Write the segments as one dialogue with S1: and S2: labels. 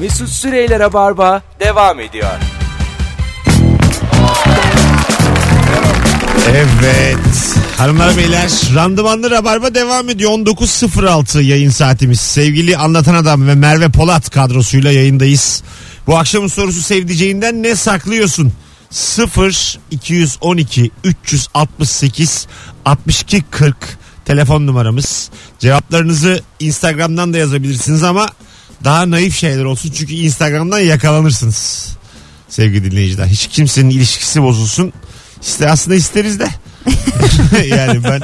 S1: Mesut Süreyler'e barba devam ediyor.
S2: Evet. Hanımlar beyler randımanlı rabarba devam ediyor. 19.06 yayın saatimiz. Sevgili Anlatan Adam ve Merve Polat kadrosuyla yayındayız. Bu akşamın sorusu sevdiceğinden ne saklıyorsun? 0 212 368 62 40 telefon numaramız. Cevaplarınızı Instagram'dan da yazabilirsiniz ama daha naif şeyler olsun çünkü Instagram'dan yakalanırsınız sevgili dinleyiciler. Hiç kimsenin ilişkisi bozulsun. İşte aslında isteriz de. yani ben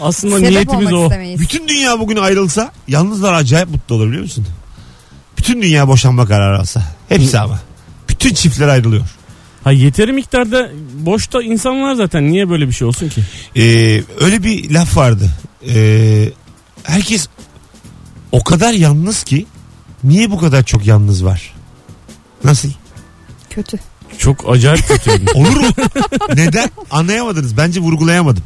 S3: Aslında
S4: Sebep
S3: niyetimiz
S4: olmak
S3: o.
S4: istemeyiz.
S2: bütün dünya bugün ayrılsa yalnızlar acayip mutlu olur biliyor musun? Bütün dünya boşanma kararı alsa. Hepsi ama. Bütün çiftler ayrılıyor.
S3: Ha yeteri miktarda boşta insan var zaten. Niye böyle bir şey olsun ki?
S2: Ee, öyle bir laf vardı. Ee, herkes o kadar yalnız ki niye bu kadar çok yalnız var? Nasıl?
S4: Kötü.
S3: Çok acayip kötü.
S2: Olur mu? Neden? Anlayamadınız. Bence vurgulayamadım.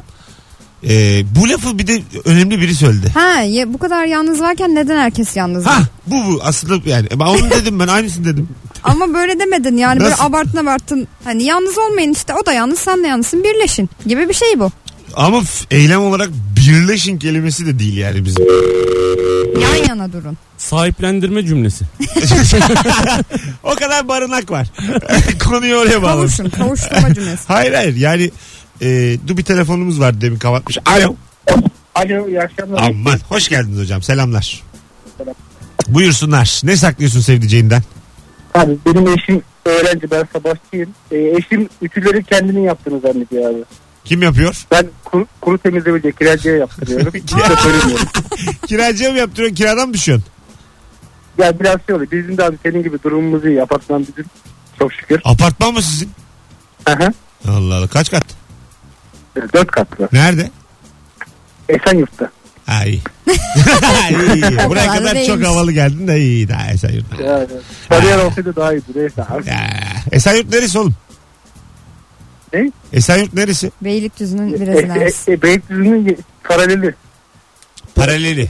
S2: Ee, bu lafı bir de önemli biri söyledi.
S4: Ha ya, bu kadar yalnız varken neden herkes yalnız?
S2: Ha bu bu aslında yani. e, Ben onu dedim ben aynısını dedim.
S4: Ama böyle demedin yani böyle
S2: Nasıl?
S4: abartın abartın. Hani yalnız olmayın işte o da yalnız sen de yalnızsın birleşin gibi bir şey bu.
S2: Ama f- eylem olarak birleşin kelimesi de değil yani bizim.
S4: Yan yana durun.
S3: Sahiplendirme cümlesi.
S2: o kadar barınak var. Konuyu oraya bağlamış.
S4: Kavuşun kavuşturma cümlesi.
S2: Hayır hayır yani e, dur bir telefonumuz var demin kapatmış. Alo.
S5: Alo iyi akşamlar.
S2: Aman hoş geldiniz hocam selamlar. Buyursunlar. Ne saklıyorsun sevdiceğinden?
S5: Abi benim eşim öğrenci ben sabahçıyım. Ee, eşim ütüleri kendini yaptığını zannediyor abi.
S2: Kim yapıyor?
S5: Ben kuru, kuru temizlemeci kiracıya yaptırıyorum. Hiç de söylemiyorum.
S2: Kiracıya mı yaptırıyorsun? Kiradan mı düşüyorsun?
S5: Ya biraz şey oluyor. Bizim de abi senin gibi durumumuz iyi. Apartman bizim. Çok şükür.
S2: Apartman mı sizin?
S5: Aha.
S2: Allah Allah. Kaç kat?
S5: Dört katlı.
S2: Nerede?
S5: Esenyurt'ta.
S2: Ha iyi. iyi. Buraya
S4: kadar da
S2: kadar çok
S4: değilmiş.
S2: havalı geldin de iyi. Daha Esenyurt.
S5: Yani. Kariyer olsaydı daha iyiydi. Neyse abi.
S2: Ya, Esenyurt neresi oğlum?
S5: Ne?
S2: Esenyurt neresi?
S4: Beylikdüzü'nün biraz
S5: E,
S4: ilerisi.
S5: e, e, Beylikdüzü'nün ye- paraleli.
S2: Paraleli.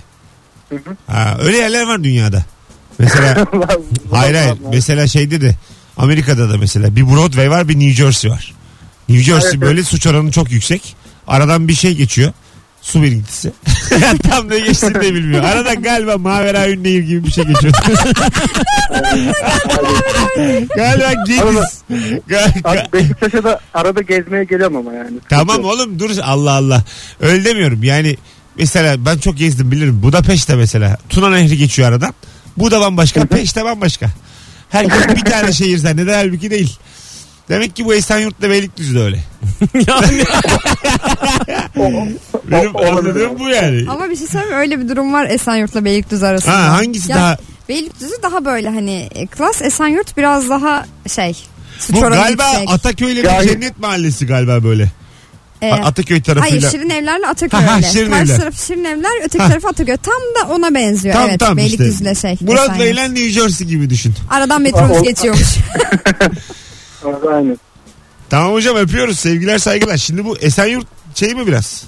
S5: Hı hı.
S2: Ha, öyle yerler var dünyada. Mesela
S5: Vallahi-
S2: hayır hayır.
S5: Vallahi.
S2: Mesela şeyde de Amerika'da da mesela bir Broadway var bir New Jersey var. New Jersey
S5: Evet, evet.
S2: böyle suç oranı çok yüksek. Aradan bir şey geçiyor. Su birikintisi. Tam ne geçtiğini de bilmiyor. Arada galiba Mavera Ünlüyüm gibi bir şey geçiyor. galiba Gediz. Gal-
S5: Abi
S2: gal-
S5: Beşiktaş'a da arada gezmeye geliyorum ama yani.
S2: Tamam oğlum dur Allah Allah. Öyle demiyorum yani mesela ben çok gezdim bilirim. Budapeşte mesela Tuna Nehri geçiyor aradan. Bu da bambaşka. Peş de bambaşka. Herkes bir tane şehir zanneder halbuki değil. Demek ki bu Esenyurt'la Beylikdüzü de öyle.
S3: yani
S2: Benim
S5: olabilir
S2: anladığım
S5: abi.
S2: bu yani.
S4: Ama bir şey söyleyeyim mi? öyle bir durum var Esenyurt'la Beylikdüzü arasında.
S2: Ha, hangisi
S4: Ya,
S2: daha?
S4: Beylikdüzü daha böyle hani e, klas Esenyurt biraz daha şey suç
S2: Bu
S4: oranı
S2: galiba
S4: yüksek.
S2: Ataköy'le
S5: Ya-
S2: bir cennet mahallesi galiba böyle.
S4: E,
S2: A- Ataköy tarafıyla.
S4: Hayır Şirin Evler'le Ataköy
S2: Ha, ha,
S4: öyle.
S2: Şirin
S4: Karşı
S2: Evler.
S4: tarafı Şirin Evler öteki
S2: Ha.
S4: tarafı Ataköy. Tam da ona benziyor.
S2: Tam
S4: evet,
S2: tam işte.
S4: Beylikdüzü'yle şey.
S2: Murat
S4: Esenyurt.
S2: Bey'le New Jersey gibi düşün.
S4: Aradan metrobüs
S5: Aa, o-
S4: geçiyormuş.
S5: Aynen.
S2: Tamam hocam öpüyoruz. Sevgiler saygılar. Şimdi bu Esenyurt şey mi biraz?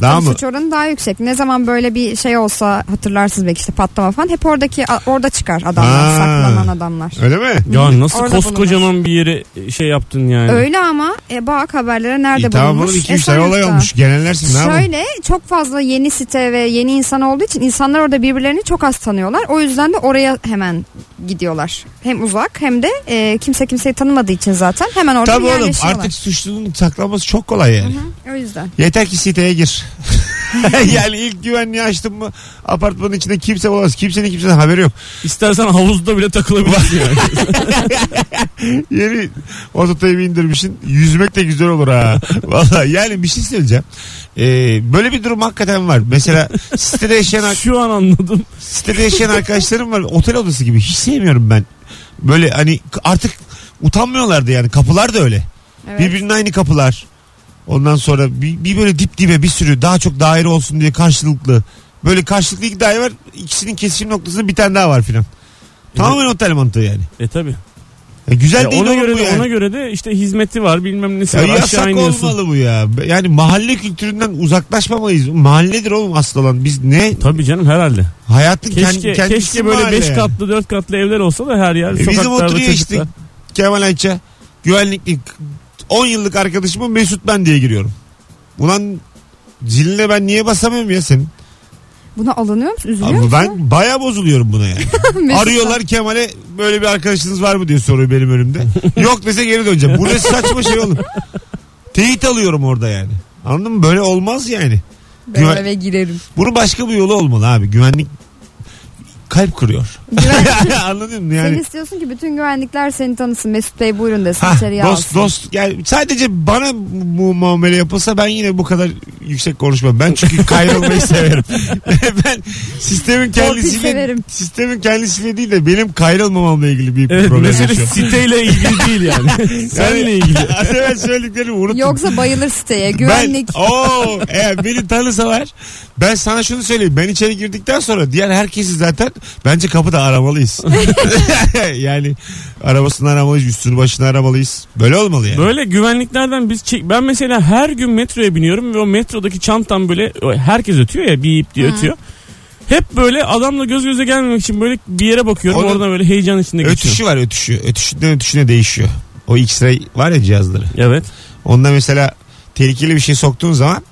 S2: Daha
S4: Ama
S2: mı?
S4: Suç oranı daha yüksek. Ne zaman böyle bir şey olsa hatırlarsınız belki işte patlama falan. Hep oradaki a- orada çıkar adamlar.
S2: Ha.
S4: Saklanan adamlar.
S2: Öyle mi?
S3: ya nasıl
S4: Orada
S3: koskocaman bir yere şey yaptın yani.
S4: Öyle ama e, bak haberlere nerede
S2: İyi, tamam
S4: bulunmuş?
S2: oğlum 2-3 tane
S4: Esenyurt'ta.
S2: olay olmuş. Genellersin ne yapalım?
S4: Şöyle çok fazla yeni site ve yeni insan olduğu için insanlar orada birbirlerini çok az tanıyorlar. O yüzden de oraya hemen gidiyorlar. Hem uzak hem de e, kimse kimseyi tanımadığı için zaten hemen orada
S2: Tabii oğlum
S4: yerleşiyorlar.
S2: artık suçlunun saklaması çok kolay yani.
S4: Hı, O yüzden.
S2: Yeter ki siteye gir. yani ilk güvenliği açtın mı apartmanın içinde kimse olamaz. Kimsenin kimsenin haberi yok.
S3: İstersen havuzda bile takılabilirsin yani.
S2: Yeni ototayımı indirmişsin. Yüzmek de güzel olur ha. Vallahi yani bir şey söyleyeceğim. Ee, böyle bir durum hakikaten var. Mesela sitede yaşayan,
S3: Şu an anladım.
S2: sitede yaşayan arkadaşlarım var. Otel odası gibi. Hiç sevmiyorum ben. Böyle hani artık utanmıyorlardı yani. Kapılar da öyle.
S4: Evet.
S2: Birbirinin aynı kapılar. Ondan sonra bir, bir böyle dip dibe bir sürü daha çok daire olsun diye karşılıklı. Böyle karşılıklı iki daire var. İkisinin kesişim noktasında bir tane daha var filan. Tamamen otel mantığı yani.
S3: E tabi.
S2: E, güzel
S3: Ya
S2: değil
S3: ona
S2: oğlum
S3: göre
S2: bu
S3: de
S2: yani.
S3: ona göre de işte hizmeti var bilmem nesi
S2: Ya
S3: var aşağı
S2: yasak
S3: iniyorsun.
S2: olmalı bu ya. Yani mahalle kültüründen uzaklaşmamalıyız. Mahalledir oğlum asıl olan. Biz ne?
S3: Tabii canım herhalde.
S2: Hayatın
S3: Keşke
S2: kendi, kendisi
S3: keşke böyle
S2: mahalle
S3: 5
S2: yani.
S3: katlı 4 katlı evler olsa da her yer
S2: E, bizim
S3: sokaklarda
S2: oturuyor
S3: çocuklar.
S2: işte Kemal Ayça. Güvenliklik. 10 yıllık arkadaşımın Mesut ben diye giriyorum. Ulan ziline ben niye basamıyorum ya senin?
S4: Buna alınıyor musun? Üzülüyor
S2: Abi
S4: musun?
S2: ben baya bozuluyorum buna yani.
S4: Mesut-
S2: Arıyorlar Kemal'e böyle bir arkadaşınız var mı diye soruyor benim önümde. Yok dese geri döneceğim. Bu ne saçma şey oğlum. Teyit alıyorum orada yani. Anladın mı? Böyle olmaz yani.
S4: Ben
S2: Güven-
S4: eve girerim.
S2: Bunun başka bir yolu olmalı abi. Güvenlik kalp kırıyor. Anladın mı
S4: Sen
S2: yani?
S4: istiyorsun ki bütün güvenlikler seni tanısın. Mesut Bey buyurun desin
S2: Ha,
S4: içeriye
S2: dost
S4: alsın.
S2: dost yani sadece bana bu muamele yapılsa ben yine bu kadar yüksek konuşmam. Ben çünkü kayrılmayı severim. ben sistemin kendisiyle
S4: severim.
S2: sistemin kendisiyle değil de benim kayrılmamamla ilgili bir
S3: Evet
S2: problem
S3: mesele
S2: yaşıyorum.
S3: siteyle ilgili değil yani. Seninle ilgili.
S2: Az evvel söylediklerimi unuttum.
S4: Yoksa bayılır siteye. Güvenlik.
S2: Ben, Oo, eğer beni tanısalar ben sana şunu söyleyeyim. Ben içeri girdikten sonra diğer herkesi zaten bence kapıda aramalıyız. yani arabasını aramalıyız, üstünü başını aramalıyız. Böyle olmalı yani.
S3: Böyle güvenliklerden biz çek... Ben mesela her gün metroya biniyorum ve o metrodaki çantam böyle o herkes ötüyor ya bir ip diye ötüyor. Hep böyle adamla göz göze gelmemek için böyle bir yere bakıyorum.
S2: Onun
S3: Oradan böyle heyecan içinde geçiyorum.
S2: ötüşü var ötüşü. Ötüşünden ötüşüne değişiyor. O X-ray var ya cihazları.
S3: Evet.
S2: Onda mesela tehlikeli bir şey soktuğun zaman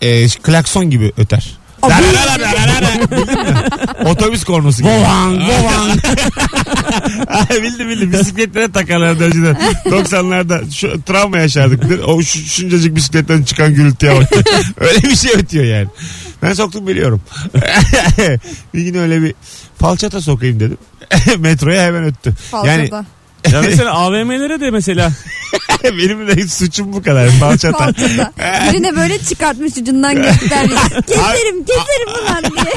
S2: e, klakson gibi öter. Bildin mi? Otobüs kornosu gibi.
S3: Vovan vovan.
S2: Ay, bildim bildim bisikletlere takarlardı önceden. 90'larda şu, travma yaşardık. O şu, şuncacık bisikletten çıkan gürültüye bak. öyle bir şey ötüyor yani. Ben soktum biliyorum. bir gün öyle bir falçata sokayım dedim. Metroya hemen öttü. Yani
S4: Falçada.
S3: ya mesela AVM'lere de mesela
S2: benim de suçum bu kadar falçata.
S4: Falçada. Birine böyle çıkartmış ucundan göstermiş. Keserim keserim ulan diye.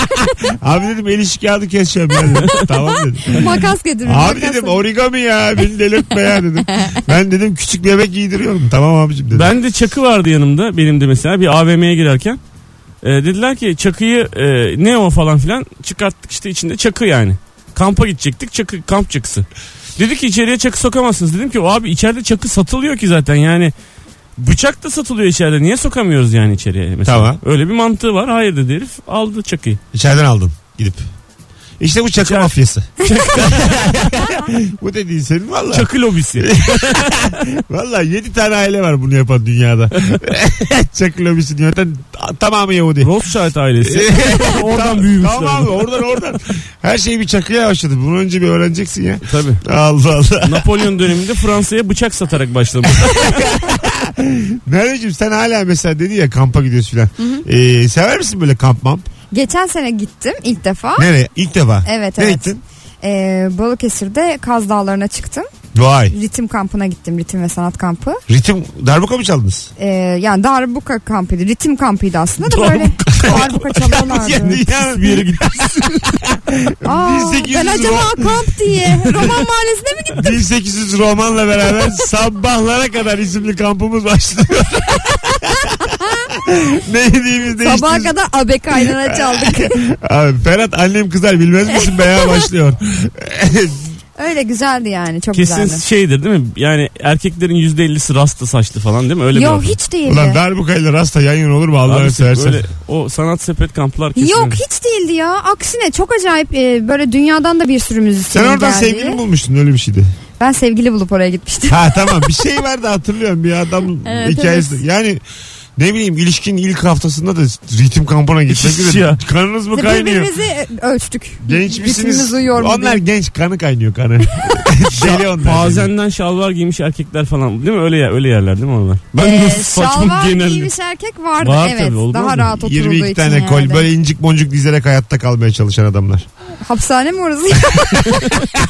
S2: Abi dedim el işi kağıdı keseceğim ben dedim. tamam dedim.
S4: Makas getirir.
S2: Abi
S4: makas
S2: dedim
S4: getirir.
S2: origami ya beni delirtme ya dedim. Ben dedim küçük bebek giydiriyorum tamam abicim dedim.
S3: Ben de çakı vardı yanımda benim de mesela bir AVM'ye girerken. Ee, dediler ki çakıyı e, ne o falan filan çıkarttık işte içinde çakı yani. Kampa gidecektik çakı kamp çakısı. Dedi ki içeriye çakı sokamazsınız. Dedim ki o abi içeride çakı satılıyor ki zaten yani. Bıçak da satılıyor içeride. Niye sokamıyoruz yani içeriye mesela?
S2: Tamam.
S3: Öyle bir mantığı var. Hayır dedi herif. Aldı çakıyı.
S2: İçeriden aldım gidip. İşte bu çakı
S3: Çak-
S2: mafyası. bu dediğin senin valla.
S3: Çakı lobisi.
S2: Valla 7 tane aile var bunu yapan dünyada. çakı lobisini yöneten ta- tamamı Yahudi.
S3: Rothschild ailesi. Oradan
S2: Tam-
S3: büyümüşler.
S2: E, Tamam oradan oradan. Her şey bir çakıya başladı. Bunu önce bir öğreneceksin ya.
S3: Tabii.
S2: Allah Allah.
S3: Napolyon döneminde Fransa'ya bıçak satarak başlamış.
S2: Merveciğim sen hala mesela dedi ya kampa gidiyorsun filan. Ee, sever misin böyle kamp mamp?
S4: Geçen sene gittim ilk defa.
S2: Nereye? İlk defa.
S4: Evet
S2: Nereye
S4: evet.
S2: gittin?
S4: Ee, Balıkesir'de Kaz Dağları'na çıktım.
S2: Vay.
S4: Ritim kampına gittim. Ritim ve sanat kampı.
S2: Ritim darbuka mı çaldınız?
S4: Ee, yani darbuka kampıydı. Ritim kampıydı aslında da böyle darbuka çalıyorlardı.
S2: Dünyanın bir yere gittin.
S4: Aa,
S2: 1800
S4: ben acaba kamp diye Roman Mahallesi'ne mi gittim?
S2: 1800 romanla beraber sabahlara kadar isimli kampımız başlıyor. ne yediğimiz değişti.
S4: Sabaha kadar abe kaynana çaldık.
S2: Abi Ferhat annem kızar bilmez misin be ya başlıyor.
S4: Öyle güzeldi yani çok
S3: Kesin
S4: güzeldi.
S3: şeydir değil mi? Yani erkeklerin %50'si rastlı saçlı falan değil mi? Öyle bir
S4: Yok
S3: ortam.
S4: hiç değildi.
S2: Ulan darbukayla rasta yan yana olur mu Allah'ını
S3: Abi
S2: seversen.
S3: böyle o sanat sepet kamplar kesin.
S4: Yok hiç değildi ya. Aksine çok acayip e, böyle dünyadan da bir sürü müzisyen
S2: Sen
S4: geldi.
S2: oradan sevgili mi bulmuştun öyle bir şeydi.
S4: Ben sevgili bulup oraya gitmiştim.
S2: Ha tamam bir şey vardı hatırlıyorum bir adam
S4: Evet,
S2: hikayesi. Yani ne bileyim ilişkinin ilk haftasında da ritim kampına gitmek
S3: Hiç
S2: üzere.
S3: ya.
S2: Kanınız mı kaynıyor?
S4: Birbirimizi e, ölçtük.
S2: Genç misiniz?
S4: Ritmimiz uyuyor mu
S2: Onlar
S4: diye.
S2: genç kanı kaynıyor kanı. Deli onlar.
S3: Bazenden şalvar giymiş erkekler falan değil mi? Öyle ya öyle yerler değil mi onlar? Ben
S4: Ee,
S3: nasıl saçma
S4: şalvar
S3: genel.
S4: giymiş erkek vardı.
S3: Var
S4: evet.
S3: tabii, olmaz
S4: daha
S3: mı?
S4: rahat oturulduğu
S2: 22
S4: için
S2: tane kol
S4: herhalde.
S2: böyle incik boncuk dizerek hayatta kalmaya çalışan adamlar.
S4: Hapishane mi orası?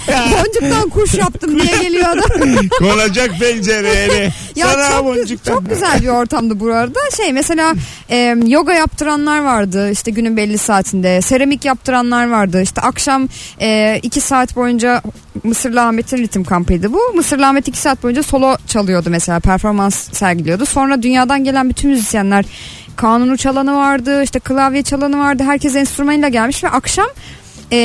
S4: Boncuktan kuş yaptım diye geliyor adam.
S2: Konacak pencereye
S4: Ya
S2: sana
S4: çok, gü-
S2: boncuktan.
S4: çok güzel bir ortamdı burada. Şey mesela e, yoga yaptıranlar vardı işte günün belli saatinde. Seramik yaptıranlar vardı. İşte akşam e, iki saat boyunca Mısırlı Ahmet'in ritim kampıydı bu. Mısırlı Ahmet iki saat boyunca solo çalıyordu mesela performans sergiliyordu. Sonra dünyadan gelen bütün müzisyenler kanunu çalanı vardı işte klavye çalanı vardı. Herkes enstrümanıyla gelmiş ve akşam e,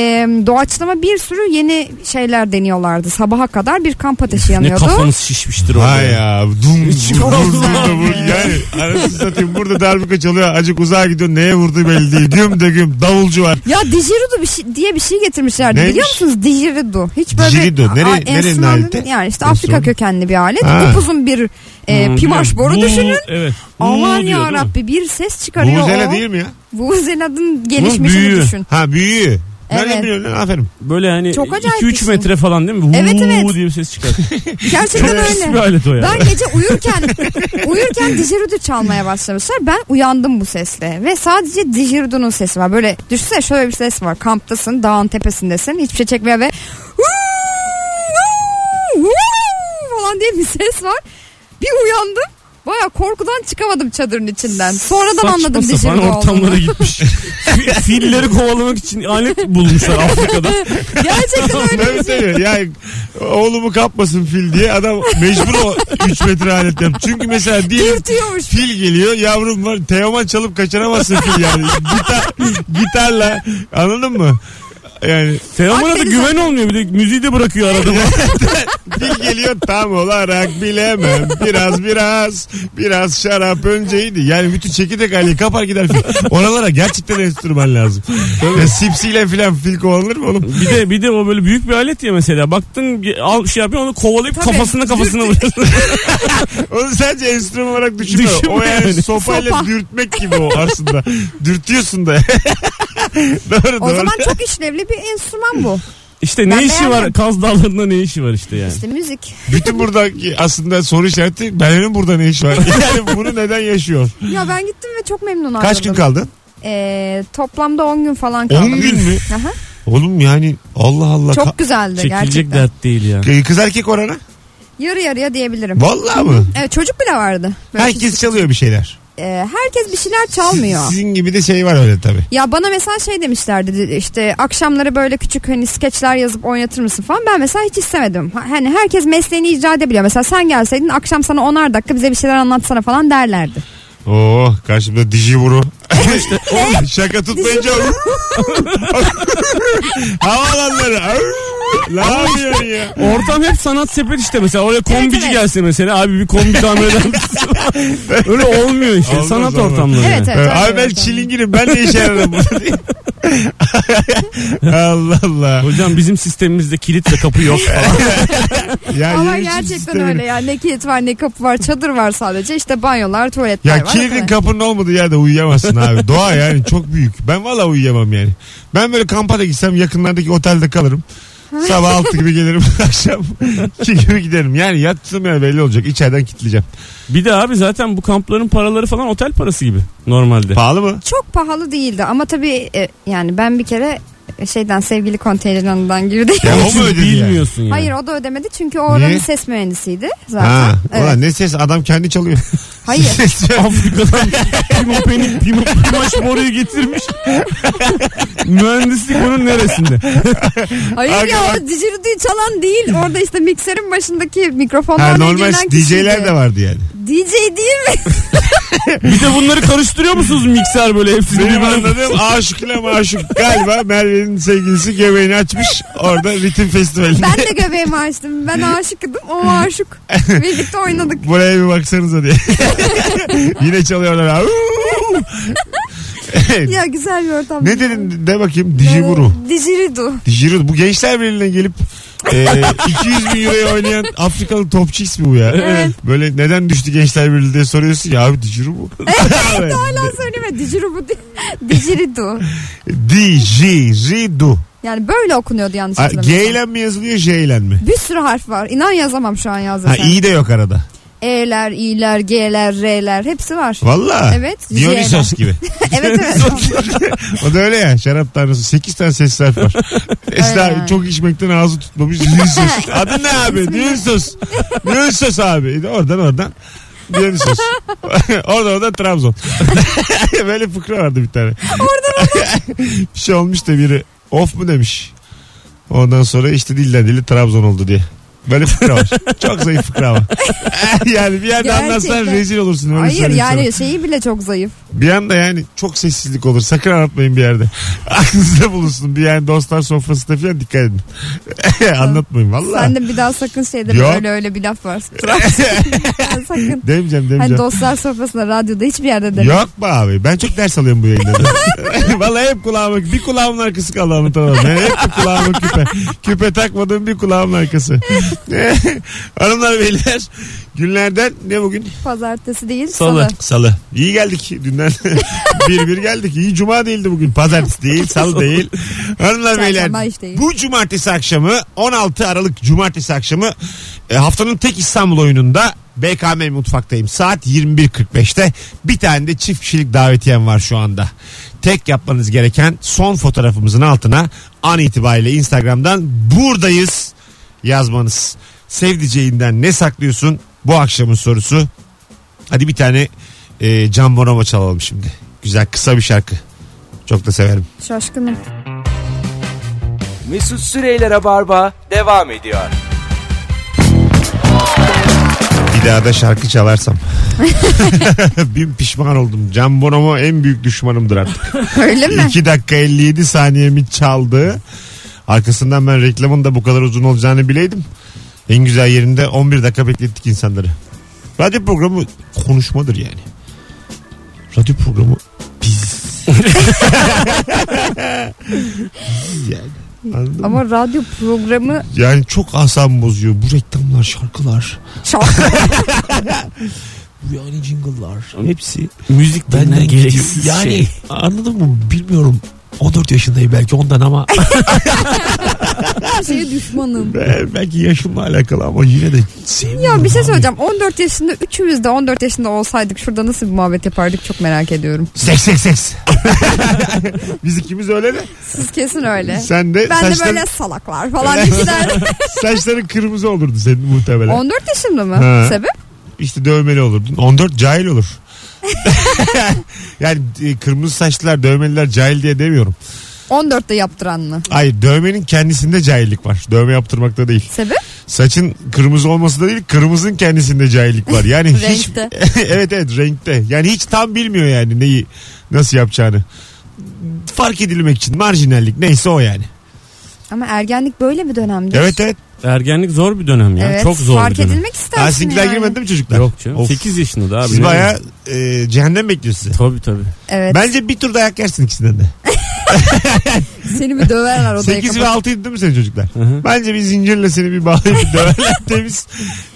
S4: doğaçlama bir sürü yeni şeyler deniyorlardı. Sabaha kadar bir kamp ateşi
S3: Ne
S4: yanıyordu.
S3: kafanız şişmiştir orada.
S2: Vay ya. Dum,
S3: Hiç
S2: dum, dum, dum,
S4: olmaz.
S2: dum. Yani arasını satayım. Burada darbuka çalıyor. Acık uzağa gidiyor. Neye vurdu belli değil. Güm de güm. Davulcu var.
S4: Ya dijeridu bir şey, diye bir şey getirmişlerdi
S2: Neymiş?
S4: biliyor musunuz? Dijeridu. Hiç böyle
S2: Dijeridu. Nereye-
S4: Aa,
S2: nerenin
S4: enstrüman
S2: aleti?
S4: dedi- Yani işte
S2: Ben
S4: Afrika
S2: sordum.
S4: kökenli bir alet.
S2: Ha.
S4: Upuzun bir e,
S3: Hmm,
S4: pimaş
S3: biliyorum.
S4: boru
S3: Vuu,
S4: düşünün.
S3: Evet.
S4: Aman
S3: Vuu diyor, değil
S4: ya
S3: mi?
S4: Rabbi bir ses çıkarıyor
S2: Vuvuzela
S4: o.
S2: değil mi ya?
S4: Vuvuzela'nın gelişmişini
S3: büyüğü.
S4: düşün.
S2: Ha büyüğü. Nereden
S4: Evet.
S2: biliyorsun lan? Aferin.
S3: Böyle hani
S4: Çok acayip bir
S3: 2-3
S4: şey.
S3: metre falan değil mi? Vuu
S4: Evet, evet.
S3: diye bir ses çıkar. Çok
S4: Gerçekten
S3: pis bir
S4: öyle.
S3: alet o ya.
S4: Ben gece uyurken uyurken dijeridu çalmaya başlamışlar. Ben uyandım bu sesle ve sadece dijeridunun sesi var. Böyle düşünsene şöyle bir ses var. Kamptasın, dağın tepesindesin. Hiçbir şey çekmiyor ve falan diye bir ses var. Bir uyandım. Baya korkudan çıkamadım çadırın içinden. Sonradan
S3: Saçma
S4: anladım
S3: sapan
S4: dijeridu olduğunu.
S3: ortamlara gitmiş. Fi- Filleri kovalamak için alet bulmuşlar Afrika'da.
S4: Gerçekten öyle
S2: Tabii
S4: bir şey.
S2: tabii. Yani oğlumu kapmasın fil diye adam mecbur o 3 metre alet yap. Çünkü mesela diyelim
S4: Dürtüyormuş.
S2: fil geliyor yavrum var Teoman çalıp kaçıramazsın fil yani. Gitar, gitarla anladın mı? Yani
S3: Teoman'a da
S4: Akdeniz
S3: güven olmuyor bir de müziği de bırakıyor arada.
S2: fil geliyor tam olarak bilemem. Biraz biraz biraz şarap önceydi. Yani bütün çekirdek aileyi kapar gider fil. Oralara gerçekten enstrüman lazım. Ya, sipsiyle filan fil kovalanır mı oğlum?
S3: bir de bir de o böyle büyük bir alet ya mesela. Baktın ge- al şey yapıyor onu kovalayıp
S4: Tabii.
S3: kafasına kafasına vuruyorsun.
S2: Onu sadece enstrüman olarak düşünme.
S3: Düşünme
S2: o yani,
S3: yani.
S2: sopayla
S4: Sopa.
S2: dürtmek gibi o aslında. Dürtüyorsun da. doğru
S4: O
S2: doğru.
S4: zaman çok işlevli bir enstrüman bu.
S3: işte ne
S4: Ben
S3: işi var
S4: beğendim.
S3: Kaz Dağları'nda ne işi var işte yani.
S4: İşte müzik.
S2: Bütün buradaki aslında soru işareti benim burada ne iş var? Yani bunu neden yaşıyor?
S4: Ya ben gittim ve çok memnun oldum.
S2: Kaç gün kaldın?
S4: Ee, toplamda 10 gün falan
S2: 10
S4: kaldım.
S2: gün mü?
S4: Aha.
S2: Oğlum yani Allah Allah.
S4: Çok
S2: Ka-
S4: güzeldi
S3: Çekilecek
S4: gerçekten.
S3: dert değil ya.
S2: Kız erkek oranı?
S4: Yarı yarıya diyebilirim.
S2: Vallahi mı?
S4: Evet çocuk bile vardı. Böyle
S2: Herkes çalıyor bir şeyler.
S4: e, herkes bir şeyler çalmıyor.
S2: Sizin gibi de şey var öyle tabii.
S4: Ya bana mesela şey demişlerdi dedi, işte akşamları böyle küçük hani skeçler yazıp oynatır mısın falan. Ben mesela hiç istemedim. Ha- Hani herkes mesleğini icra edebiliyor. Mesela sen gelseydin akşam sana 10'ar dakika bize bir şeyler anlatsana falan derlerdi.
S2: Oo karşımda dijiburu. Şaka tutmayınca havalanları. ne yapıyorsun ya?
S3: Ortam hep sanat sepet işte mesela. Oraya kombici
S4: evet.
S3: gelse mesela. Abi bir kombi tamir eder misin? Öyle olmuyor işte.
S2: Olmaz,
S3: sanat
S2: olmaz.
S3: ortamları.
S4: Evet
S3: yani.
S4: evet. öyle
S2: Abi Ee, ben
S4: öyle.
S2: çilingirim ben ne işe yararım burada diye. Allah Allah.
S3: Hocam bizim sistemimizde kilit ve kapı yok falan.
S2: Ya
S4: Ama
S2: yemişim
S4: gerçekten
S2: sistemini.
S4: öyle ya. Ne kilit var ne kapı var çadır var sadece. işte banyolar tuvaletler
S2: Ya
S4: var.
S2: kilidin
S4: Evet.
S2: kapının olmadığı yerde uyuyamazsın abi. Doğa yani çok büyük. Ben valla uyuyamam yani. Ben böyle kampa da gitsem yakınlardaki otelde kalırım. Sabah 6 gibi gelirim akşam 2 gibi giderim. Yani yattığım yer belli olacak. İçeriden kilitleyeceğim.
S3: bir de abi zaten bu kampların paraları falan otel parası gibi normalde.
S2: Pahalı mı?
S4: çok pahalı değildi ama tabii e, yani ben bir kere e, şeyden sevgili konteynerından girdim.
S2: Ya
S3: Ama
S2: o mu
S3: siz
S2: ödedi yani?
S3: Bilmiyorsun yani.
S4: Hayır o da ödemedi çünkü o oranın
S2: Niye?
S4: ses mühendisiydi zaten.
S2: Ha,
S4: Evet.
S2: ulan ne ses adam kendi çalıyor.
S4: Hayır.
S3: Afrika'dan Pimo Peni Pimo Pimaş boruyu getirmiş. Mühendislik onun neresinde?
S4: Hayır ya
S2: Arkadaş-
S4: o dijeriduyu çalan değil. Orada işte mikserin başındaki
S2: ha,
S4: mikrofonlarla
S2: normal
S4: ilgilenen kişiydi.
S2: DJ'ler de vardı yani.
S4: DJ değil mi?
S3: Bir de bunları karıştırıyor musunuz mikser böyle hepsini
S2: Benim
S3: birbirine?
S2: anladığım aşık ile maşuk. Galiba Merve'nin sevgilisi göbeğini açmış. Orada ritim festivalinde.
S4: Ben de göbeğimi açtım. Ben aşıkıdım. O aşık. Birlikte oynadık.
S2: Buraya bir baksanıza diye. Yine çalıyorlar.
S4: Ya güzel bir ortam.
S2: ne dedin de bakayım Dijiguru.
S4: Dijeridu.
S2: Dijiguru bu gençler birliğine gelip e, 200 bin euroya oynayan Afrikalı topçu ismi bu ya.
S4: Evet.
S2: Böyle neden düştü gençler birliği diye soruyorsun ya abi Dijiguru bu. Evet.
S4: Hala söyleme. Dijeridu. Dijeridu.
S2: Dijiguru.
S4: Yani böyle okunuyordu yanlış
S2: A, G
S4: hatırlamıyorsam.
S2: ile mi yazılıyor J ile mi?
S4: Bir sürü harf var. İnan yazamam şu an yazdım.
S2: Ha iyi de yok arada.
S4: E'ler, i'ler, g'ler, r'ler hepsi var.
S2: Valla.
S4: Evet,
S2: Dionysos gibi.
S4: evet evet.
S2: O da öyle ya şarap tanrısı. 8 tane ses harf var. Esra
S4: yani.
S2: çok içmekten ağzı tutmamış. Dionysos. Adı ne abi? Dionysos. Dionysos abi. E, Oradan oradan. Dionysos. oradan oradan Trabzon. Böyle fıkra vardı bir tane. Oradan oradan. bir şey olmuş da biri of mu demiş. Ondan sonra işte dilden dili Trabzon oldu diye. Böyle fıkra var. Çok zayıf fıkra var. yani bir yerde
S4: Gerçekten.
S2: anlatsan rezil olursun. Öyle
S4: Hayır
S2: söyleyeyim sana.
S4: yani şeyi bile çok zayıf.
S2: Bir anda yani çok sessizlik olur. Sakın anlatmayın bir yerde. Aklınızda bulunsun. Bir yani dostlar sofrasında falan dikkat edin. anlatmayın valla.
S4: Sen de bir daha sakın şeyde
S2: Yok.
S4: öyle öyle bir laf var. sakın.
S2: Demeyeceğim
S4: Hani
S2: demeyeceğim.
S4: dostlar sofrasında radyoda hiçbir yerde deme.
S2: Yok be abi. Ben çok ders alıyorum bu yayınlarda. Vallahi hep kulağıma bir kulağımın arkası kaldı anlatamam. Yani hep bir kulağımın küpe. Küpe takmadığım bir kulağımın arkası. Hanımlar beyler günlerden ne bugün?
S4: Pazartesi değil
S3: Salı.
S4: salı.
S2: Salı. İyi geldik dünden. bir bir geldik. İyi cuma değildi bugün. Pazartesi değil, salı değil. Hanımlar beyler
S4: Çarşamba hiç değil.
S2: bu cumartesi akşamı 16 Aralık cumartesi akşamı e, haftanın tek İstanbul oyununda BKM mutfaktayım. Saat 21.45'te bir tane de çift kişilik davetiyem var şu anda. Tek yapmanız gereken son fotoğrafımızın altına an itibariyle Instagram'dan buradayız yazmanız. Sevdiceğinden ne saklıyorsun? Bu akşamın sorusu Hadi bir tane e, Can Bonomo çalalım şimdi. Güzel kısa bir şarkı. Çok da severim.
S4: Şaşkınım.
S1: Mesut Süreyler'e barba devam ediyor.
S2: Bir daha da şarkı çalarsam. Bin pişman oldum. Can Bonomo en büyük düşmanımdır artık.
S4: Öyle mi?
S2: 2 dakika 57 saniyemi çaldı. Arkasından ben reklamın da bu kadar uzun olacağını bileydim. En güzel yerinde 11 dakika beklettik insanları. Radyo programı konuşmadır yani. Radyo programı biz. Biz yani. Anladın mı?
S4: Ama radyo programı
S2: Yani çok asam bozuyor bu reklamlar, şarkılar.
S4: çok
S2: Bu yani jingle'lar.
S6: Hepsi
S3: Müzik
S6: benden
S3: benden
S6: gidiyor.
S3: gereksiz
S6: Yani
S3: şey.
S6: anladın mı bilmiyorum. 14 yaşındayım belki ondan ama
S4: her şeye düşmanım.
S2: Be- belki yaşımla alakalı ama yine de sevmiyorum.
S4: Ya bir şey
S2: abi.
S4: söyleyeceğim. 14 yaşında üçümüz de 14 yaşında olsaydık şurada nasıl bir muhabbet yapardık çok merak ediyorum.
S2: Seks seks seks. Biz ikimiz öyle de.
S4: Siz kesin öyle.
S2: Sen de
S4: Ben de
S2: saçların,
S4: böyle salaklar falan diye giderdim.
S2: saçların kırmızı olurdu senin muhtemelen.
S4: 14 yaşında mı?
S2: Ha.
S4: Sebep?
S2: İşte dövmeli olurdun. 14 cahil olur. yani e, kırmızı saçlılar dövmeliler cahil diye demiyorum.
S4: 14'te yaptıran mı?
S2: Hayır dövmenin kendisinde cahillik var. Dövme yaptırmakta değil.
S4: Sebep?
S2: Saçın kırmızı olması da değil kırmızın kendisinde cahillik var. Yani hiç
S4: Renkte.
S2: evet evet renkte. Yani hiç tam bilmiyor yani neyi nasıl yapacağını. Fark edilmek için marjinallik neyse o yani.
S4: Ama ergenlik böyle bir dönemdir.
S2: Evet evet.
S3: Ergenlik zor bir dönem ya.
S4: Evet,
S3: Çok zor
S4: Fark
S3: bir dönem.
S4: edilmek istersin
S2: Ha, sizinkiler
S4: yani.
S2: girmedi mi çocuklar?
S3: Yok canım.
S2: Of.
S3: 8 yaşında da abi.
S2: Siz
S3: ne
S2: baya
S3: bileyim.
S2: e, cehennem bekliyor sizi.
S3: Tabii tabii.
S4: Evet.
S2: Bence bir tur dayak yersin ikisinden de.
S4: Seni bir döverler odaya
S2: 8 ve
S4: kapat.
S2: 6 değil mi senin çocuklar?
S3: Hı hı.
S2: Bence bir zincirle seni bir bağlayıp bir döverler temiz.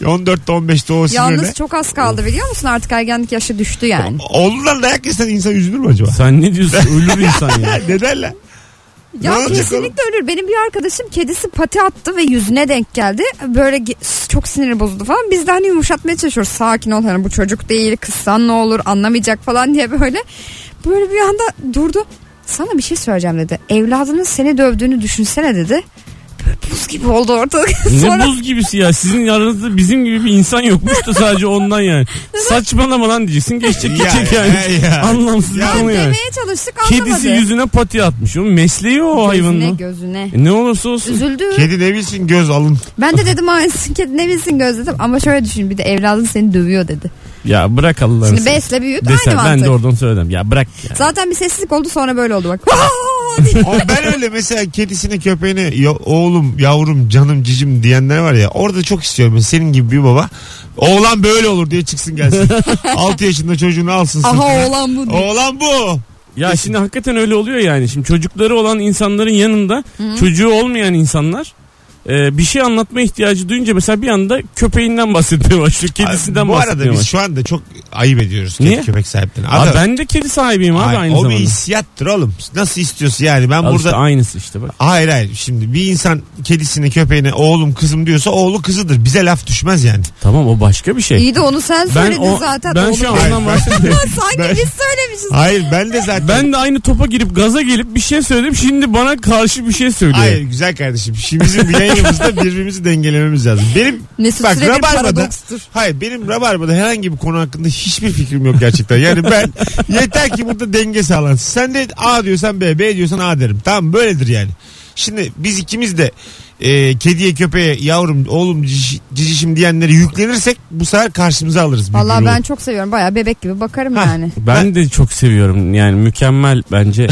S2: 14'te 15'te o sinirle.
S4: Yalnız çok az kaldı biliyor musun? Artık ergenlik yaşı düştü yani.
S2: Oğlundan dayak yersen insan üzülür mü acaba?
S3: Sen ne diyorsun? Ölür insan ya.
S2: Ha, ne derler? Ne
S4: Ya
S2: olacak
S4: kesinlikle ölür. Benim bir arkadaşım kedisi pati attı ve yüzüne denk geldi. Böyle ge- çok siniri bozuldu falan. Biz de hani yumuşatmaya çalışıyoruz. Sakin ol hani bu çocuk değil kızsan ne olur anlamayacak falan diye böyle. Böyle bir anda durdu. Sana bir şey söyleyeceğim dedi. Evladının seni dövdüğünü düşünsene dedi. Böyle buz gibi oldu ortalık.
S3: Ne
S4: Sonra
S3: buz gibisi ya. Sizin aranızda bizim gibi bir insan yokmuş da sadece ondan yani. Saçmalama lan diyeceksin. Geçecek gidecek
S2: Ya,
S3: yani.
S2: ya, ya.
S3: Anlamsız bir
S2: Ya,
S3: konu yani.
S4: demeye çalıştık anlamadı.
S3: Kedisi yüzüne pati atmış. O mesleği o
S4: Gözüne
S3: hayvanın.
S4: gözüne.
S3: E ne olursa olsun.
S4: Üzüldü.
S2: Kedi ne bilsin göz alın.
S4: Ben de dedim aynısın kedi ne bilsin göz dedim. Ama şöyle düşün bir de evladın seni dövüyor dedi.
S3: Ya bırak Allah'ını.
S4: Şimdi
S3: seversen.
S4: besle büyüt
S3: Desen
S4: aynı mantık.
S3: ben de oradan söyledim. Ya bırak ya.
S4: Zaten bir sessizlik oldu sonra böyle oldu bak.
S2: Ama ben öyle mesela kedisine köpeğine ya- oğlum yavrum canım cicim diyenler var ya orada çok istiyorum. Mesela Senin gibi bir baba oğlan böyle olur diye çıksın gelsin. 6 yaşında çocuğunu alsın
S4: Aha
S2: sırtına.
S4: oğlan bu.
S2: Oğlan bu.
S3: Ya şimdi hakikaten öyle oluyor yani. Şimdi çocukları olan insanların yanında çocuğu olmayan insanlar e, bir şey anlatma ihtiyacı duyunca mesela bir anda köpeğinden bahsetmeye başlıyor. Kedisinden
S2: Bu
S3: bahsetmeye
S2: arada
S3: başlıyor.
S2: biz şu anda çok ayıp ediyoruz
S3: Niye?
S2: kedi köpek sahiplerine.
S3: Abi
S2: Adam-
S3: ben de kedi sahibiyim abi
S2: Ay,
S3: aynı
S2: o
S3: zamanda.
S2: bir hissiyattır oğlum. Nasıl istiyorsun yani ben
S3: Al
S2: burada...
S3: işte aynısı işte bak.
S2: Hayır hayır şimdi bir insan kedisine köpeğine oğlum kızım diyorsa oğlu kızıdır. Bize laf düşmez yani.
S3: Tamam o başka bir şey.
S4: İyi de onu sen söyledin
S3: o-
S4: zaten.
S3: ben
S4: Oğlum
S3: şu an
S4: ben-
S3: ondan bahsediyorum.
S4: Sanki
S2: Ben-
S4: biz söylemişiz.
S2: Hayır ben de zaten...
S3: ben de aynı topa girip gaza gelip bir şey söyledim. Şimdi bana karşı bir şey söylüyor.
S2: Hayır güzel kardeşim. Şimdi bizim yayınımızda birbirimizi dengelememiz lazım. Benim
S4: Mesut
S2: bak
S4: Süre bir
S2: Rabarba'da
S4: paradokstur.
S2: hayır benim Rabarba'da herhangi bir konu hakkında hiçbir fikrim yok gerçekten. Yani ben yeter ki burada denge sağlansın. Sen de A diyorsan B, B diyorsan A derim. Tamam böyledir yani. Şimdi biz ikimiz de e, kediye köpeğe yavrum oğlum cici- cicişim diyenleri yüklenirsek bu sefer karşımıza alırız. bir
S4: Vallahi
S2: grubu.
S4: ben çok seviyorum. Baya bebek gibi bakarım
S2: Hah.
S4: yani.
S3: Ben de çok seviyorum yani mükemmel bence.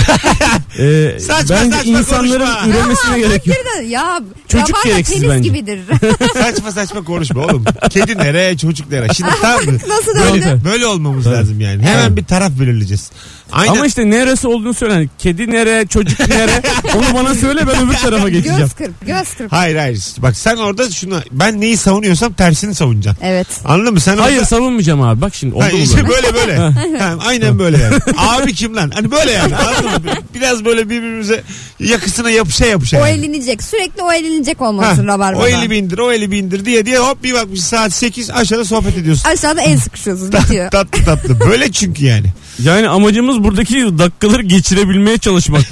S3: Ee,
S2: Saçma
S3: bence
S2: saçma
S3: insanların
S2: konuşma.
S3: üremesine gerek yok.
S4: Bir de ya
S3: Çocuk
S4: yaban da
S3: gereksiz
S4: tenis
S3: bence.
S4: gibidir.
S2: saçma saçma konuşma oğlum. Kedi nereye çocuk nereye. Şimdi tamam mı?
S4: Nasıl
S3: Böyle-
S4: döndü?
S3: Tabii.
S2: Böyle olmamız
S3: Tabii.
S2: lazım yani. Hemen
S3: Tabii.
S2: bir taraf belirleyeceğiz. Aynen.
S3: Ama işte neresi olduğunu söyle. Kedi nere, çocuk nere onu bana söyle ben öbür tarafa geçeceğim.
S4: Göz kırp, göz kırp.
S2: Hayır hayır. Bak sen orada şunu ben neyi savunuyorsam tersini savunacaksın.
S4: Evet.
S2: Anladın mı? Sen
S3: Hayır
S2: orada...
S3: savunmayacağım abi bak şimdi oldu
S2: Ha,
S3: mu
S2: işte böyle
S3: böyle?
S2: böyle. Tamam, aynen böyle yani. Abi kim lan? Hani böyle yani. Anladın mı? Biraz böyle birbirimize yakısına yapışa yapışa.
S4: O
S2: yani.
S4: elinecek. Sürekli o elinecek
S2: Ha,
S4: olmalısın rabarbada.
S2: o eli bindir o eli bindir diye diye hop bir bakmış saat 8 aşağıda sohbet ediyorsun.
S4: Aşağıda el sıkışıyorsun. Bitiyor.
S2: tatlı tatlı. Böyle çünkü yani.
S3: Yani amacımız buradaki dakikaları geçirebilmeye çalışmak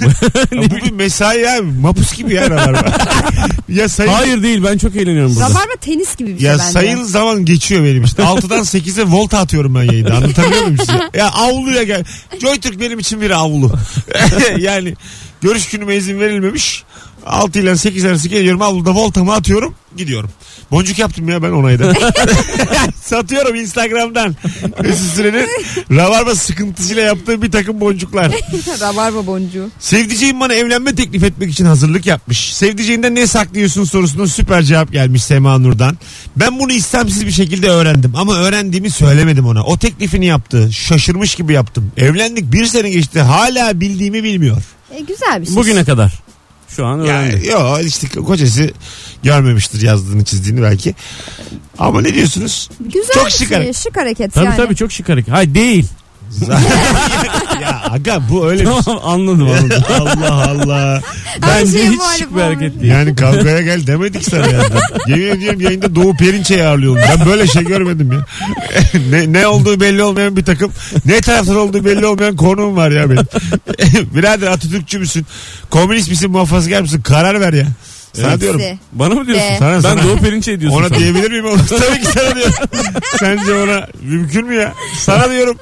S3: mı?
S2: Ya bu bir mesai abi. Mapus gibi ya rabarba. ya sayın,
S3: Hayır değil ben çok eğleniyorum burada.
S4: Rabarba tenis gibi bir şey
S2: ya
S4: bence.
S2: sayılı zaman geçiyor benim işte. 6'dan 8'e volta atıyorum ben yayında. Anlatabiliyor muyum size? Ya avluya gel. Joytürk benim için bir avlu. yani görüş günüme izin verilmemiş. 6 ile 8 arası geliyorum avluda voltamı atıyorum gidiyorum. Boncuk yaptım ya ben onayda. Satıyorum Instagram'dan. Mesut Süren'in Rabarba sıkıntısıyla yaptığı bir takım boncuklar.
S4: Rabarba boncuğu.
S2: Sevdiceğim bana evlenme teklif etmek için hazırlık yapmış. Sevdiceğinden ne saklıyorsun sorusuna süper cevap gelmiş Sema Nur'dan. Ben bunu istemsiz bir şekilde öğrendim ama öğrendiğimi söylemedim ona. O teklifini yaptı. Şaşırmış gibi yaptım. Evlendik bir sene geçti hala bildiğimi bilmiyor.
S4: E, güzel bir şey.
S3: Bugüne kadar. Şu an öğrendim.
S2: Yani, yo işte kocası görmemiştir yazdığını çizdiğini belki. Ama ne diyorsunuz?
S4: Güzel
S2: Çok
S4: bir
S2: şık
S4: şey,
S2: hareket.
S4: şık hareket
S3: Tabii
S4: yani.
S3: tabii çok şık hareket. Hayır değil.
S2: ya aga bu öyle bir şey.
S3: Tamam anladım anladım.
S2: Allah Allah.
S4: Her
S3: Bence
S4: şeye
S3: hiç
S4: muhalif
S3: şık bir
S4: olmak.
S3: hareket değil.
S2: Yani kavgaya gel demedik sana yani. Yemin ediyorum yayında Doğu Perinçe'yi ağırlıyorum. Ben böyle şey görmedim ya. ne, ne olduğu belli olmayan bir takım. Ne taraftan olduğu belli olmayan konuğum var ya benim. Birader Atatürkçü müsün? Komünist misin? Muhafazakar mısın? Karar ver ya. Sana
S4: Hepsi.
S2: diyorum.
S3: Bana mı diyorsun?
S4: Be.
S2: Sana,
S3: ben
S2: sana.
S3: Doğu Perinçe diyorsun.
S2: Ona
S3: sana.
S2: diyebilir miyim oğlum? Tabii ki sana diyorum. Sence ona mümkün mü ya? Sana diyorum.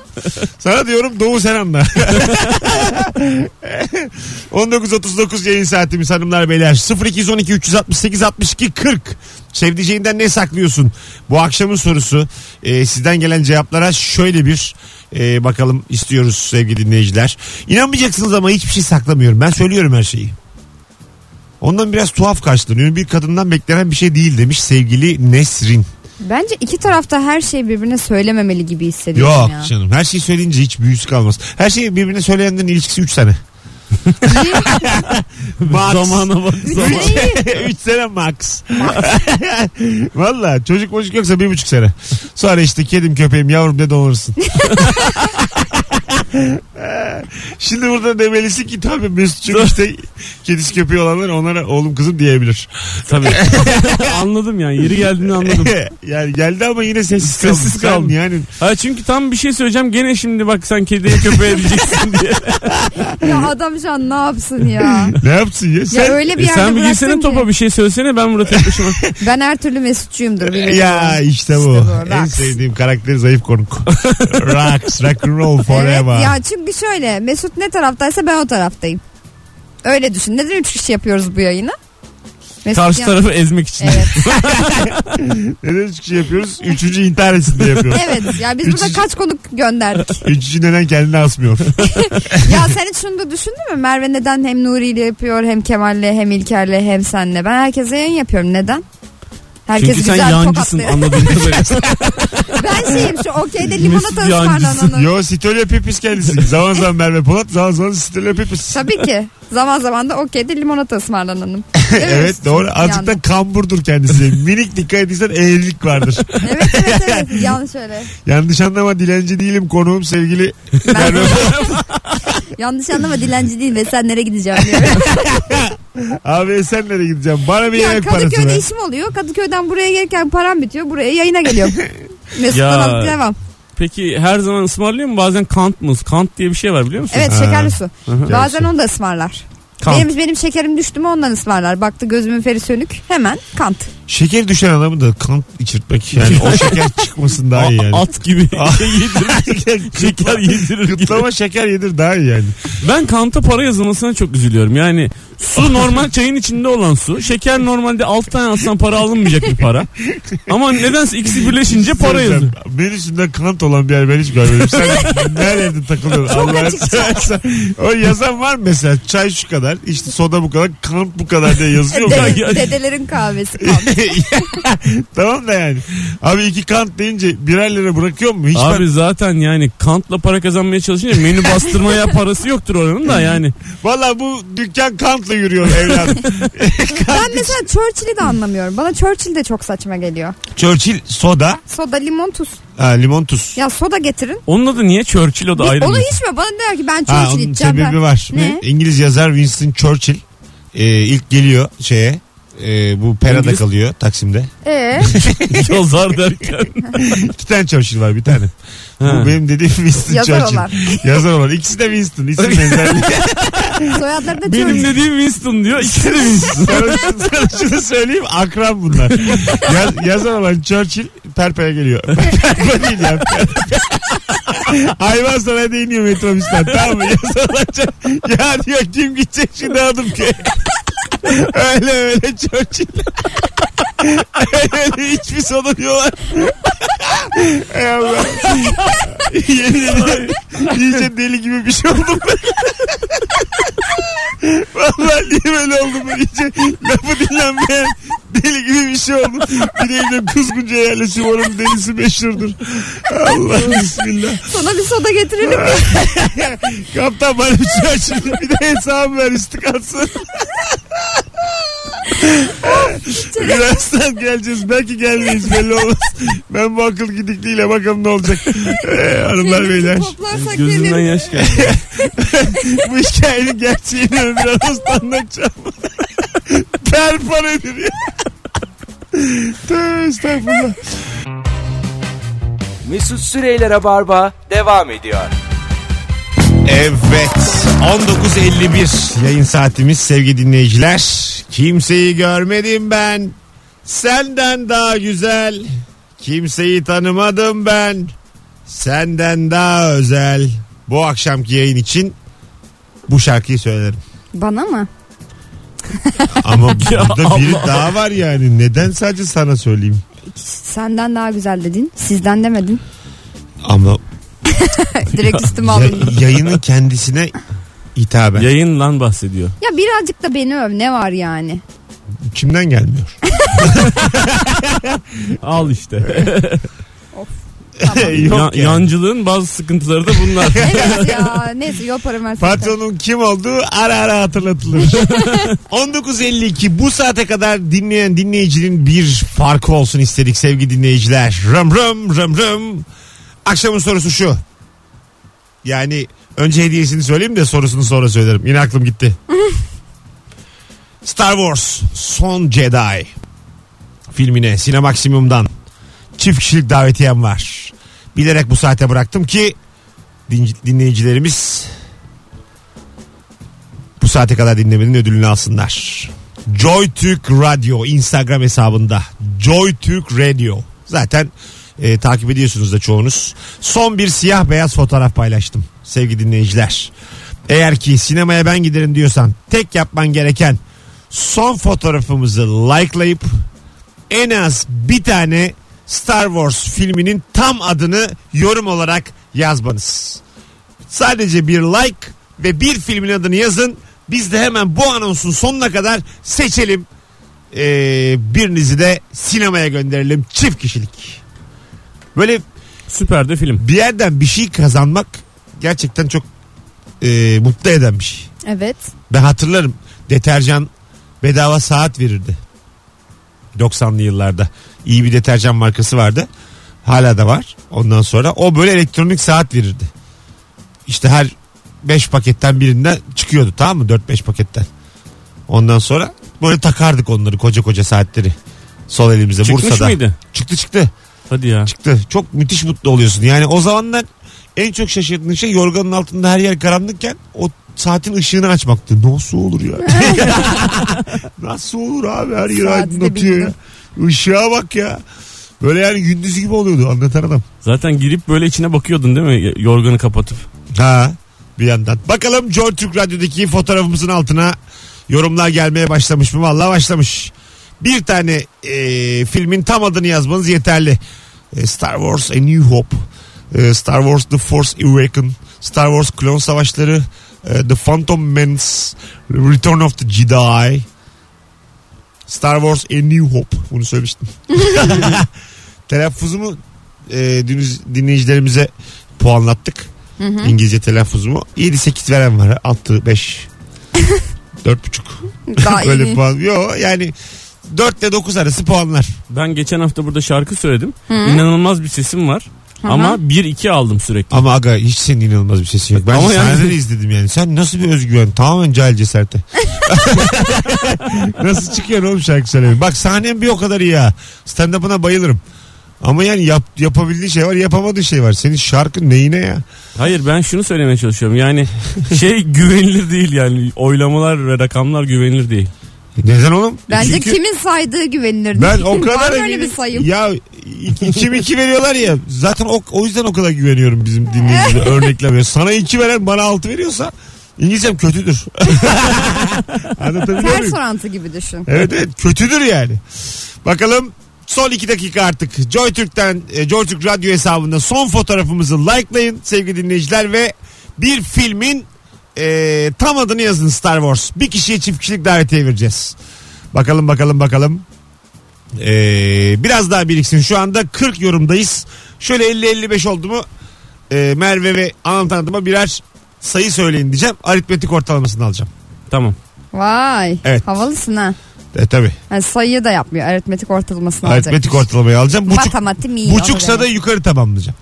S2: Sana diyorum Doğu Senan'da. 19.39 yayın saatimiz hanımlar beyler. 0212 368 62 40. Sevdiceğinden ne saklıyorsun? Bu akşamın sorusu. Ee, sizden gelen cevaplara şöyle bir e, bakalım istiyoruz sevgili dinleyiciler. İnanmayacaksınız ama hiçbir şey saklamıyorum. Ben söylüyorum her şeyi. Ondan biraz tuhaf karşılanıyor. Bir kadından beklenen bir şey değil demiş sevgili Nesrin.
S4: Bence iki tarafta her şeyi birbirine söylememeli gibi hissediyorum
S2: Yok
S4: ya.
S3: Şey-
S2: canım her şeyi söyleyince hiç büyüsü kalmaz. Her şeyi birbirine söyleyenlerin ilişkisi 3 sene. Max.
S3: Zamana bak. zaman.
S2: 3 sene max. Valla çocuk çocuk yoksa bir buçuk sene. Sonra işte kedim köpeğim yavrum de doğurursun. Şimdi burada demelisin ki tabii Mesut'cum işte kedisi köpeği olanlar onlara oğlum kızım diyebilir.
S3: Tabii. anladım yani yeri geldiğini anladım.
S2: yani geldi ama yine sessiz kaldı. Sen
S3: Sessiz kaldı.
S2: Yani
S3: Ha çünkü tam bir şey söyleyeceğim gene şimdi bak sen kediye köpeğe diyeceksin diye.
S4: Ya adam şu an ne yapsın ya?
S2: ne yapsın ya?
S4: ya
S2: Sen
S4: öyle bir
S3: E
S4: yerde
S3: sen bir
S4: bıraktın
S3: girsene
S4: ki.
S3: topa bir şey söylesene ben burada tek başıma.
S4: Ben her türlü mesutçuyumdur.
S3: E,
S4: biliyorum.
S2: ya işte bu.
S4: İşte Ee, bu,
S2: en
S4: Rax.
S2: sevdiğim karakteri zayıf konuk. Rocks, rock and roll
S4: Evet
S2: forever.
S4: ya çünkü şöyle Mesut ne taraftaysa ben o taraftayım. Öyle düşün. Neden üç kişi yapıyoruz bu yayını? Mesut
S3: Karşı
S4: yan-
S3: tarafı ezmek için.
S4: Evet.
S2: Neden üç kişi şey yapıyoruz? Üçüncü intihar etsin diye yapıyoruz.
S4: evet. Ya biz burada
S2: Üçüncü-
S4: kaç konuk gönderdik.
S2: Üçüncü neden kendini asmıyor?
S4: ya sen hiç şunu da düşündün mü? Merve neden hem Nuri ile yapıyor hem Kemal'le hem İlker'le hem senle. Ben herkese yayın yapıyorum. Neden? Herkes
S3: Çünkü sen
S4: güzel
S3: yancısın
S4: tokatlıyor.
S3: anladığım kadarıyla.
S4: ben şeyim şu okeyde
S3: Mesut
S4: limonata
S3: yancısı.
S4: ısmarlananı.
S2: Yo Sitolya Pipis kendisi. Zaman zaman Merve Polat, zaman zaman Sitolya Pipis.
S4: Tabii ki. Zaman zaman da okeyde limonata ısmarlananım. Değil mi
S2: evet
S4: Mesut'cum?
S2: doğru. Azıcık
S4: Yani.
S2: da kamburdur kendisi. Minik dikkat edersen eğrilik vardır.
S4: Evet evet evet. Yanlış öyle.
S2: Yanlış anlama dilenci değilim konuğum sevgili Merve
S4: Yanlış anlama dilenci değil ve sen nereye gideceğim diyor.
S2: Abi Esenler'e gideceğim. Bana bir
S4: ya
S2: yemek parası
S4: Kadıköy'de
S2: ver.
S4: işim oluyor. Kadıköy'den buraya gelirken param bitiyor. Buraya yayına geliyorum.
S3: Ya.
S4: Mesut'tan alıp devam.
S3: Peki her zaman ısmarlıyor mu? Bazen kant mı? Kant diye bir şey var biliyor musun?
S4: Evet
S2: Ha.
S4: şekerli su.
S2: Gerçi.
S4: Bazen onu da ısmarlar.
S3: Kant.
S4: Benim, benim şekerim düştü mü ondan ısmarlar. Baktı gözümün feri sönük. Hemen kant.
S2: Şeker düşen adamı da kan içirtmek yani o şeker çıkmasın daha iyi yani.
S3: At gibi şey yedirir. şeker yedirir gibi.
S2: Kıtlama şeker yedir daha iyi yani.
S3: Ben kanta para yazılmasına çok üzülüyorum. Yani su normal çayın içinde olan su. Şeker normalde 6 tane alsan para alınmayacak bir para. Ama nedense ikisi birleşince para yazıyor.
S2: Sen- Menüsünde kant olan bir yer ben hiç görmedim. Sen nerede takılıyorsun?
S4: Çok
S2: Allah'ın
S4: açık
S2: seversen. O yazan var mı mesela? Çay şu kadar, işte soda bu kadar, kant bu kadar diye yazıyor. mu?
S3: Yok,
S4: Dede-
S3: yok.
S4: dedelerin kahvesi kaldı.
S2: tamam da yani. Abi iki kant deyince birer lira bırakıyor mu? Hiç
S3: Abi zaten yani kantla para kazanmaya çalışınca menü bastırmaya parası yoktur oranın da yani.
S2: ben... Valla bu dükkan kantla yürüyor evladım.
S4: ben mesela Churchill'i de anlamıyorum. Bana Churchill de çok saçma geliyor.
S2: Churchill soda,
S4: Soda limon tuz.
S2: ha, limon tuz.
S4: Ya soda getirin.
S3: Onun adı niye Churchill o da
S4: Biz-
S3: ayrı
S4: onu
S3: bir-
S4: içme. Bana der ki
S2: Ha,
S4: ben Churchill
S2: onun
S4: içeceğim.
S2: sebebi
S4: ben.
S2: var.
S4: Ne?
S2: İngiliz yazar Winston Churchill e, ilk geliyor şeye. e, bu Pera'da
S3: İngiliz-
S2: kalıyor Taksim'de.
S4: Ee,
S3: Yazar derken.
S2: İki tane Churchill var bir tane.
S3: Ha.
S2: Bu benim dediğim Winston
S4: Yazar
S2: Churchill.
S4: olan.
S2: Yazar olan. İkisi de Winston. İsim benzerliği.
S4: soyadları da
S3: Benim
S4: Churchill.
S3: dediğim Winston diyor. İkisi de Winston.
S2: Sana- sana şunu söyleyeyim. Akran bunlar. Yaz- yazar olan Churchill Perpe'ye geliyor. Perpe değil ya. Perpe. Hayvan sana değiniyor metrobüsten. Tamam mı? Yazar olan Churchill- Ya diyor kim gidecek şimdi adım ki. öyle öyle Churchill. öyle öyle hiçbir sonu diyorlar. Ey Allah. Yemin ederim. İyice deli gibi bir şey oldum ben. Vallahi niye böyle oldum ben iyice lafı dinlenmeyen deli gibi bir şey oldum. Bir de evde kuzgunca yerleşim oranın delisi meşhurdur. Allah bismillah.
S4: Sana bir soda getirelim. mi?
S2: Kaptan bana bir şey açın. Bir de hesabı ver üstü kalsın. Birazdan geleceğiz. Belki gelmeyiz belli olmaz. Ben bu akıl gidikliğiyle bakalım ne olacak. Ee, hanımlar beyler.
S4: Toplarsak
S3: Gözümden
S4: gelir.
S3: yaş geldi.
S2: Bu hikayenin gerçeğini Ömür Aras'ta anlatacağım. Perpan ediliyor. Tövbe estağfurullah.
S1: Mesut Süreyler'e barba devam ediyor.
S2: Evet 19.51 yayın saatimiz sevgili dinleyiciler. Kimseyi görmedim ben. Senden daha güzel. Kimseyi tanımadım ben. Senden daha özel. Bu akşamki yayın için bu şarkıyı söylerim.
S4: Bana mı?
S2: Ama
S3: Ya
S2: burada biri daha var yani. Neden sadece sana söyleyeyim?
S4: Senden daha güzel dedin. Sizden demedin.
S2: Ama
S4: Direkt üstüme
S2: Ya-
S4: alındı.
S2: yayının kendisine hitaben.
S3: Yayın lan bahsediyor.
S4: Ya birazcık da beni öv. Ne var yani?
S2: Kimden gelmiyor?
S3: Al işte.
S2: Yok
S3: Ya-
S2: yani.
S3: Yancılığın bazı sıkıntıları da bunlar.
S4: Evet ya. Neyse yol paramı versin.
S2: Patronun kim olduğu ara ara hatırlatılır. 19.52 bu saate kadar dinleyen dinleyicinin bir farkı olsun istedik sevgili dinleyiciler. Rım rım rım rım. Akşamın sorusu şu. Yani önce hediyesini söyleyeyim de sorusunu sonra söylerim. Yine aklım gitti. Star Wars Son Jedi filmine Sinemaksimum'dan çift kişilik davetiyem var. Bilerek bu saate bıraktım ki din- dinleyicilerimiz bu saate kadar dinlemenin ödülünü alsınlar. JoyTürk Radyo Instagram hesabında. JoyTürk Radio. Zaten e, takip ediyorsunuz da çoğunuz. Son bir siyah beyaz fotoğraf paylaştım sevgili dinleyiciler. Eğer ki sinemaya ben giderim diyorsan tek yapman gereken son fotoğrafımızı likelayıp en az bir tane Star Wars filminin tam adını yorum olarak yazmanız. Sadece bir like ve bir filmin adını yazın. Biz de hemen bu anonsun sonuna kadar seçelim. Ee, birinizi de sinemaya gönderelim. Çift kişilik. Böyle
S3: Süper de film.
S2: bir yerden bir şey kazanmak gerçekten çok e, mutlu eden bir şey.
S4: Evet.
S2: Ben hatırlarım deterjan bedava saat verirdi. 90'lı yıllarda. İyi bir deterjan markası vardı. Hala da var. Ondan sonra o böyle elektronik saat verirdi. İşte her 5 paketten birinden çıkıyordu tamam mı? 4-5 paketten. Ondan sonra böyle takardık onları koca koca saatleri. Sol elimize
S3: Çıkmış
S2: Bursa'da.
S3: mıydı?
S2: Çıktı çıktı
S3: Hadi ya.
S2: çıktı. Çok müthiş mutlu oluyorsun. Yani o zamanlar en çok şaşırdığın şey yorganın altında her yer karanlıkken o saatin ışığını açmaktı. Nasıl olur ya? Nasıl olur abi her yer
S4: Saati de
S2: aydınlatıyor ya.
S4: bildim.
S2: Işığa bak ya. Böyle yani gündüz gibi oluyordu anlatan adam.
S3: Zaten girip böyle içine bakıyordun değil mi? Yorganı kapatıp.
S2: Ha bir yandan. Bakalım Joy Türk Radyo'daki fotoğrafımızın altına yorumlar gelmeye başlamış mı? Vallahi başlamış. Bir tane e, filmin tam adını yazmanız yeterli. E, Star Wars A New Hope, e, Star Wars The Force Awakens, Star Wars Klon Savaşları, e, The Phantom Menace, Return of the Jedi, Star Wars A New Hope. Bunu söylemiştim. Telaffuzumu e, diniz- dinleyicilerimize puanlattık. İngilizce telaffuzumu. 7-8 veren var. 6, 5. 4,5.
S4: Daha
S2: Böyle
S4: iyi.
S2: puan. Yo yani 4 ile 9 arası puanlar.
S3: Ben geçen hafta burada şarkı söyledim. İnanılmaz bir sesim var.
S4: hı.
S3: Ama 1-2 aldım sürekli.
S2: Ama aga hiç senin inanılmaz bir sesin yok. Ben
S3: Ama
S2: Ama
S3: yani-
S2: sahnede de izledim yani. Sen nasıl bir özgüven? Tamamen cahil cesarete. nasıl çıkıyorsun oğlum şarkı söylemeye? Bak sahnem bir o kadar iyi ha. Stand-up'ına bayılırım. Ama yani yap, yapabildiği şey var yapamadığı şey var. Senin şarkın neyine ya?
S3: Hayır ben şunu söylemeye çalışıyorum. Yani şey güvenilir değil yani. Oylamalar ve rakamlar güvenilir değil.
S2: Neden oğlum?
S4: Bence
S2: Çünkü-
S4: kimin saydığı güvenilir.
S2: Ben o kadar
S4: Var mı öyle
S2: eminim.
S4: bir sayım.
S2: Ya iki- içim iki veriyorlar ya. Zaten o, o yüzden o kadar güveniyorum bizim dinleyicilere örneklemeye. Sana iki veren bana altı veriyorsa İngilizcem kötüdür. Anlatabiliyor
S4: Ters
S2: muyum?
S4: orantı gibi düşün.
S2: Evet evet kötüdür yani. Bakalım son iki dakika artık. Joy Türk'ten e, Joy Türk Radyo hesabında son fotoğrafımızı likelayın sevgili dinleyiciler ve bir filmin e, tam adını yazın Star Wars. Bir kişiye çift kişilik davetiye vereceğiz. Bakalım bakalım bakalım. Ee, biraz daha biriksin. Şu anda 40 yorumdayız. Şöyle 50-55 oldu mu e, Merve ve Anam birer sayı söyleyin diyeceğim. Aritmetik ortalamasını alacağım.
S3: Tamam.
S4: Vay.
S2: Evet.
S4: Havalısın ha.
S2: E tabi.
S4: Yani sayıyı da yapmıyor. Aritmetik ortalamasını alacak.
S2: Aritmetik ortalamayı alacağım. Buçuk,
S4: Matematik iyi.
S2: Buçuksa da yukarı tamamlayacağım.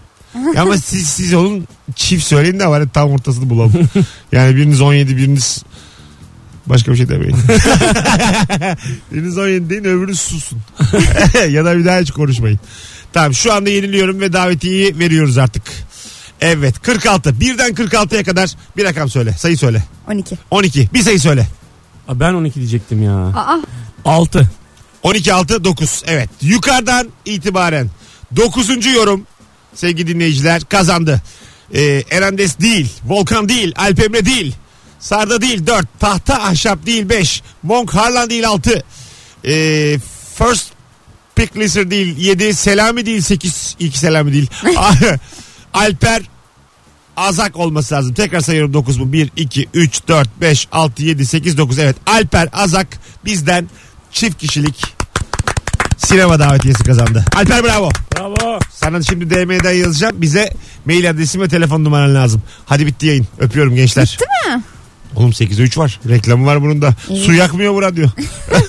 S2: Ya Ama siz siz olun çift söyleyin de var ya tam ortasını bulalım. Yani biriniz 17 biriniz başka bir şey demeyin. biriniz 17 deyin öbürünüz susun. ya da bir daha hiç konuşmayın. Tamam şu anda yeniliyorum ve davetiyi veriyoruz artık. Evet 46 birden 46'ya kadar bir rakam söyle sayı söyle.
S4: 12.
S2: 12 bir sayı söyle.
S3: Aa, ben 12 diyecektim ya.
S4: Aa
S3: 6.
S2: 12 6 9 evet yukarıdan itibaren 9. yorum sevgili dinleyiciler kazandı. Ee, Erendes değil, Volkan değil, Alpemre değil, Sarda değil 4, Tahta Ahşap değil 5, Monk Harlan değil 6, ee, First Pick Lister değil 7, Selami değil 8, iki Selami değil, Ah, Alper Azak olması lazım. Tekrar sayıyorum 9 bu. 1, 2, 3, 4, 5, 6, 7, 8, 9. Evet Alper Azak bizden çift kişilik sinema davetiyesi kazandı. Alper bravo.
S3: Bravo.
S2: Sana şimdi DM'den yazacağım. Bize mail adresin ve telefon numaran lazım. Hadi bitti yayın. Öpüyorum gençler. Bitti
S4: mi?
S2: Oğlum 8'e 3 var. Reklamı var bunun da. Su yakmıyor bu radyo. ee,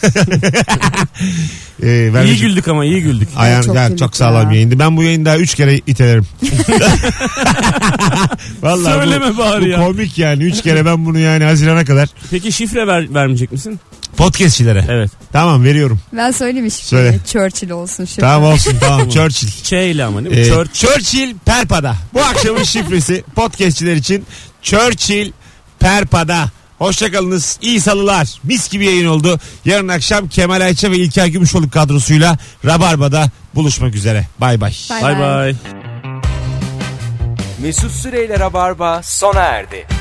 S2: vermeyeceğim.
S3: İyi güldük ama iyi güldük.
S2: Ayağın,
S4: çok
S2: ya, çok,
S4: güldük
S2: sağlam
S4: ya.
S2: yayındı. Ben bu yayını daha 3 kere itelerim. Vallahi bu-
S3: Söyleme
S2: bu
S3: bari ya.
S2: komik yani. Üç kere ben bunu yani Haziran'a kadar.
S3: Peki şifre ver, vermeyecek misin?
S2: Podcastçilere.
S3: Evet.
S2: Tamam veriyorum.
S4: ben söylemişim.
S2: Söyle.
S4: Churchill olsun şimdi.
S2: Tamam olsun tamam. Churchill.
S3: Ç ile ama değil mi?
S2: Ee,
S3: Church.
S2: Churchill Perpa'da. Bu akşamın şifresi podcastçiler için Churchill Perpa'da. Hoşçakalınız. İyi salılar. Mis gibi yayın oldu. Yarın akşam Kemal Ayça ve İlker Gümüşoluk kadrosuyla Rabarba'da buluşmak üzere. Bay bay.
S4: Bay
S3: Bay bay.
S1: Mesut Süreyler'e barba sona erdi.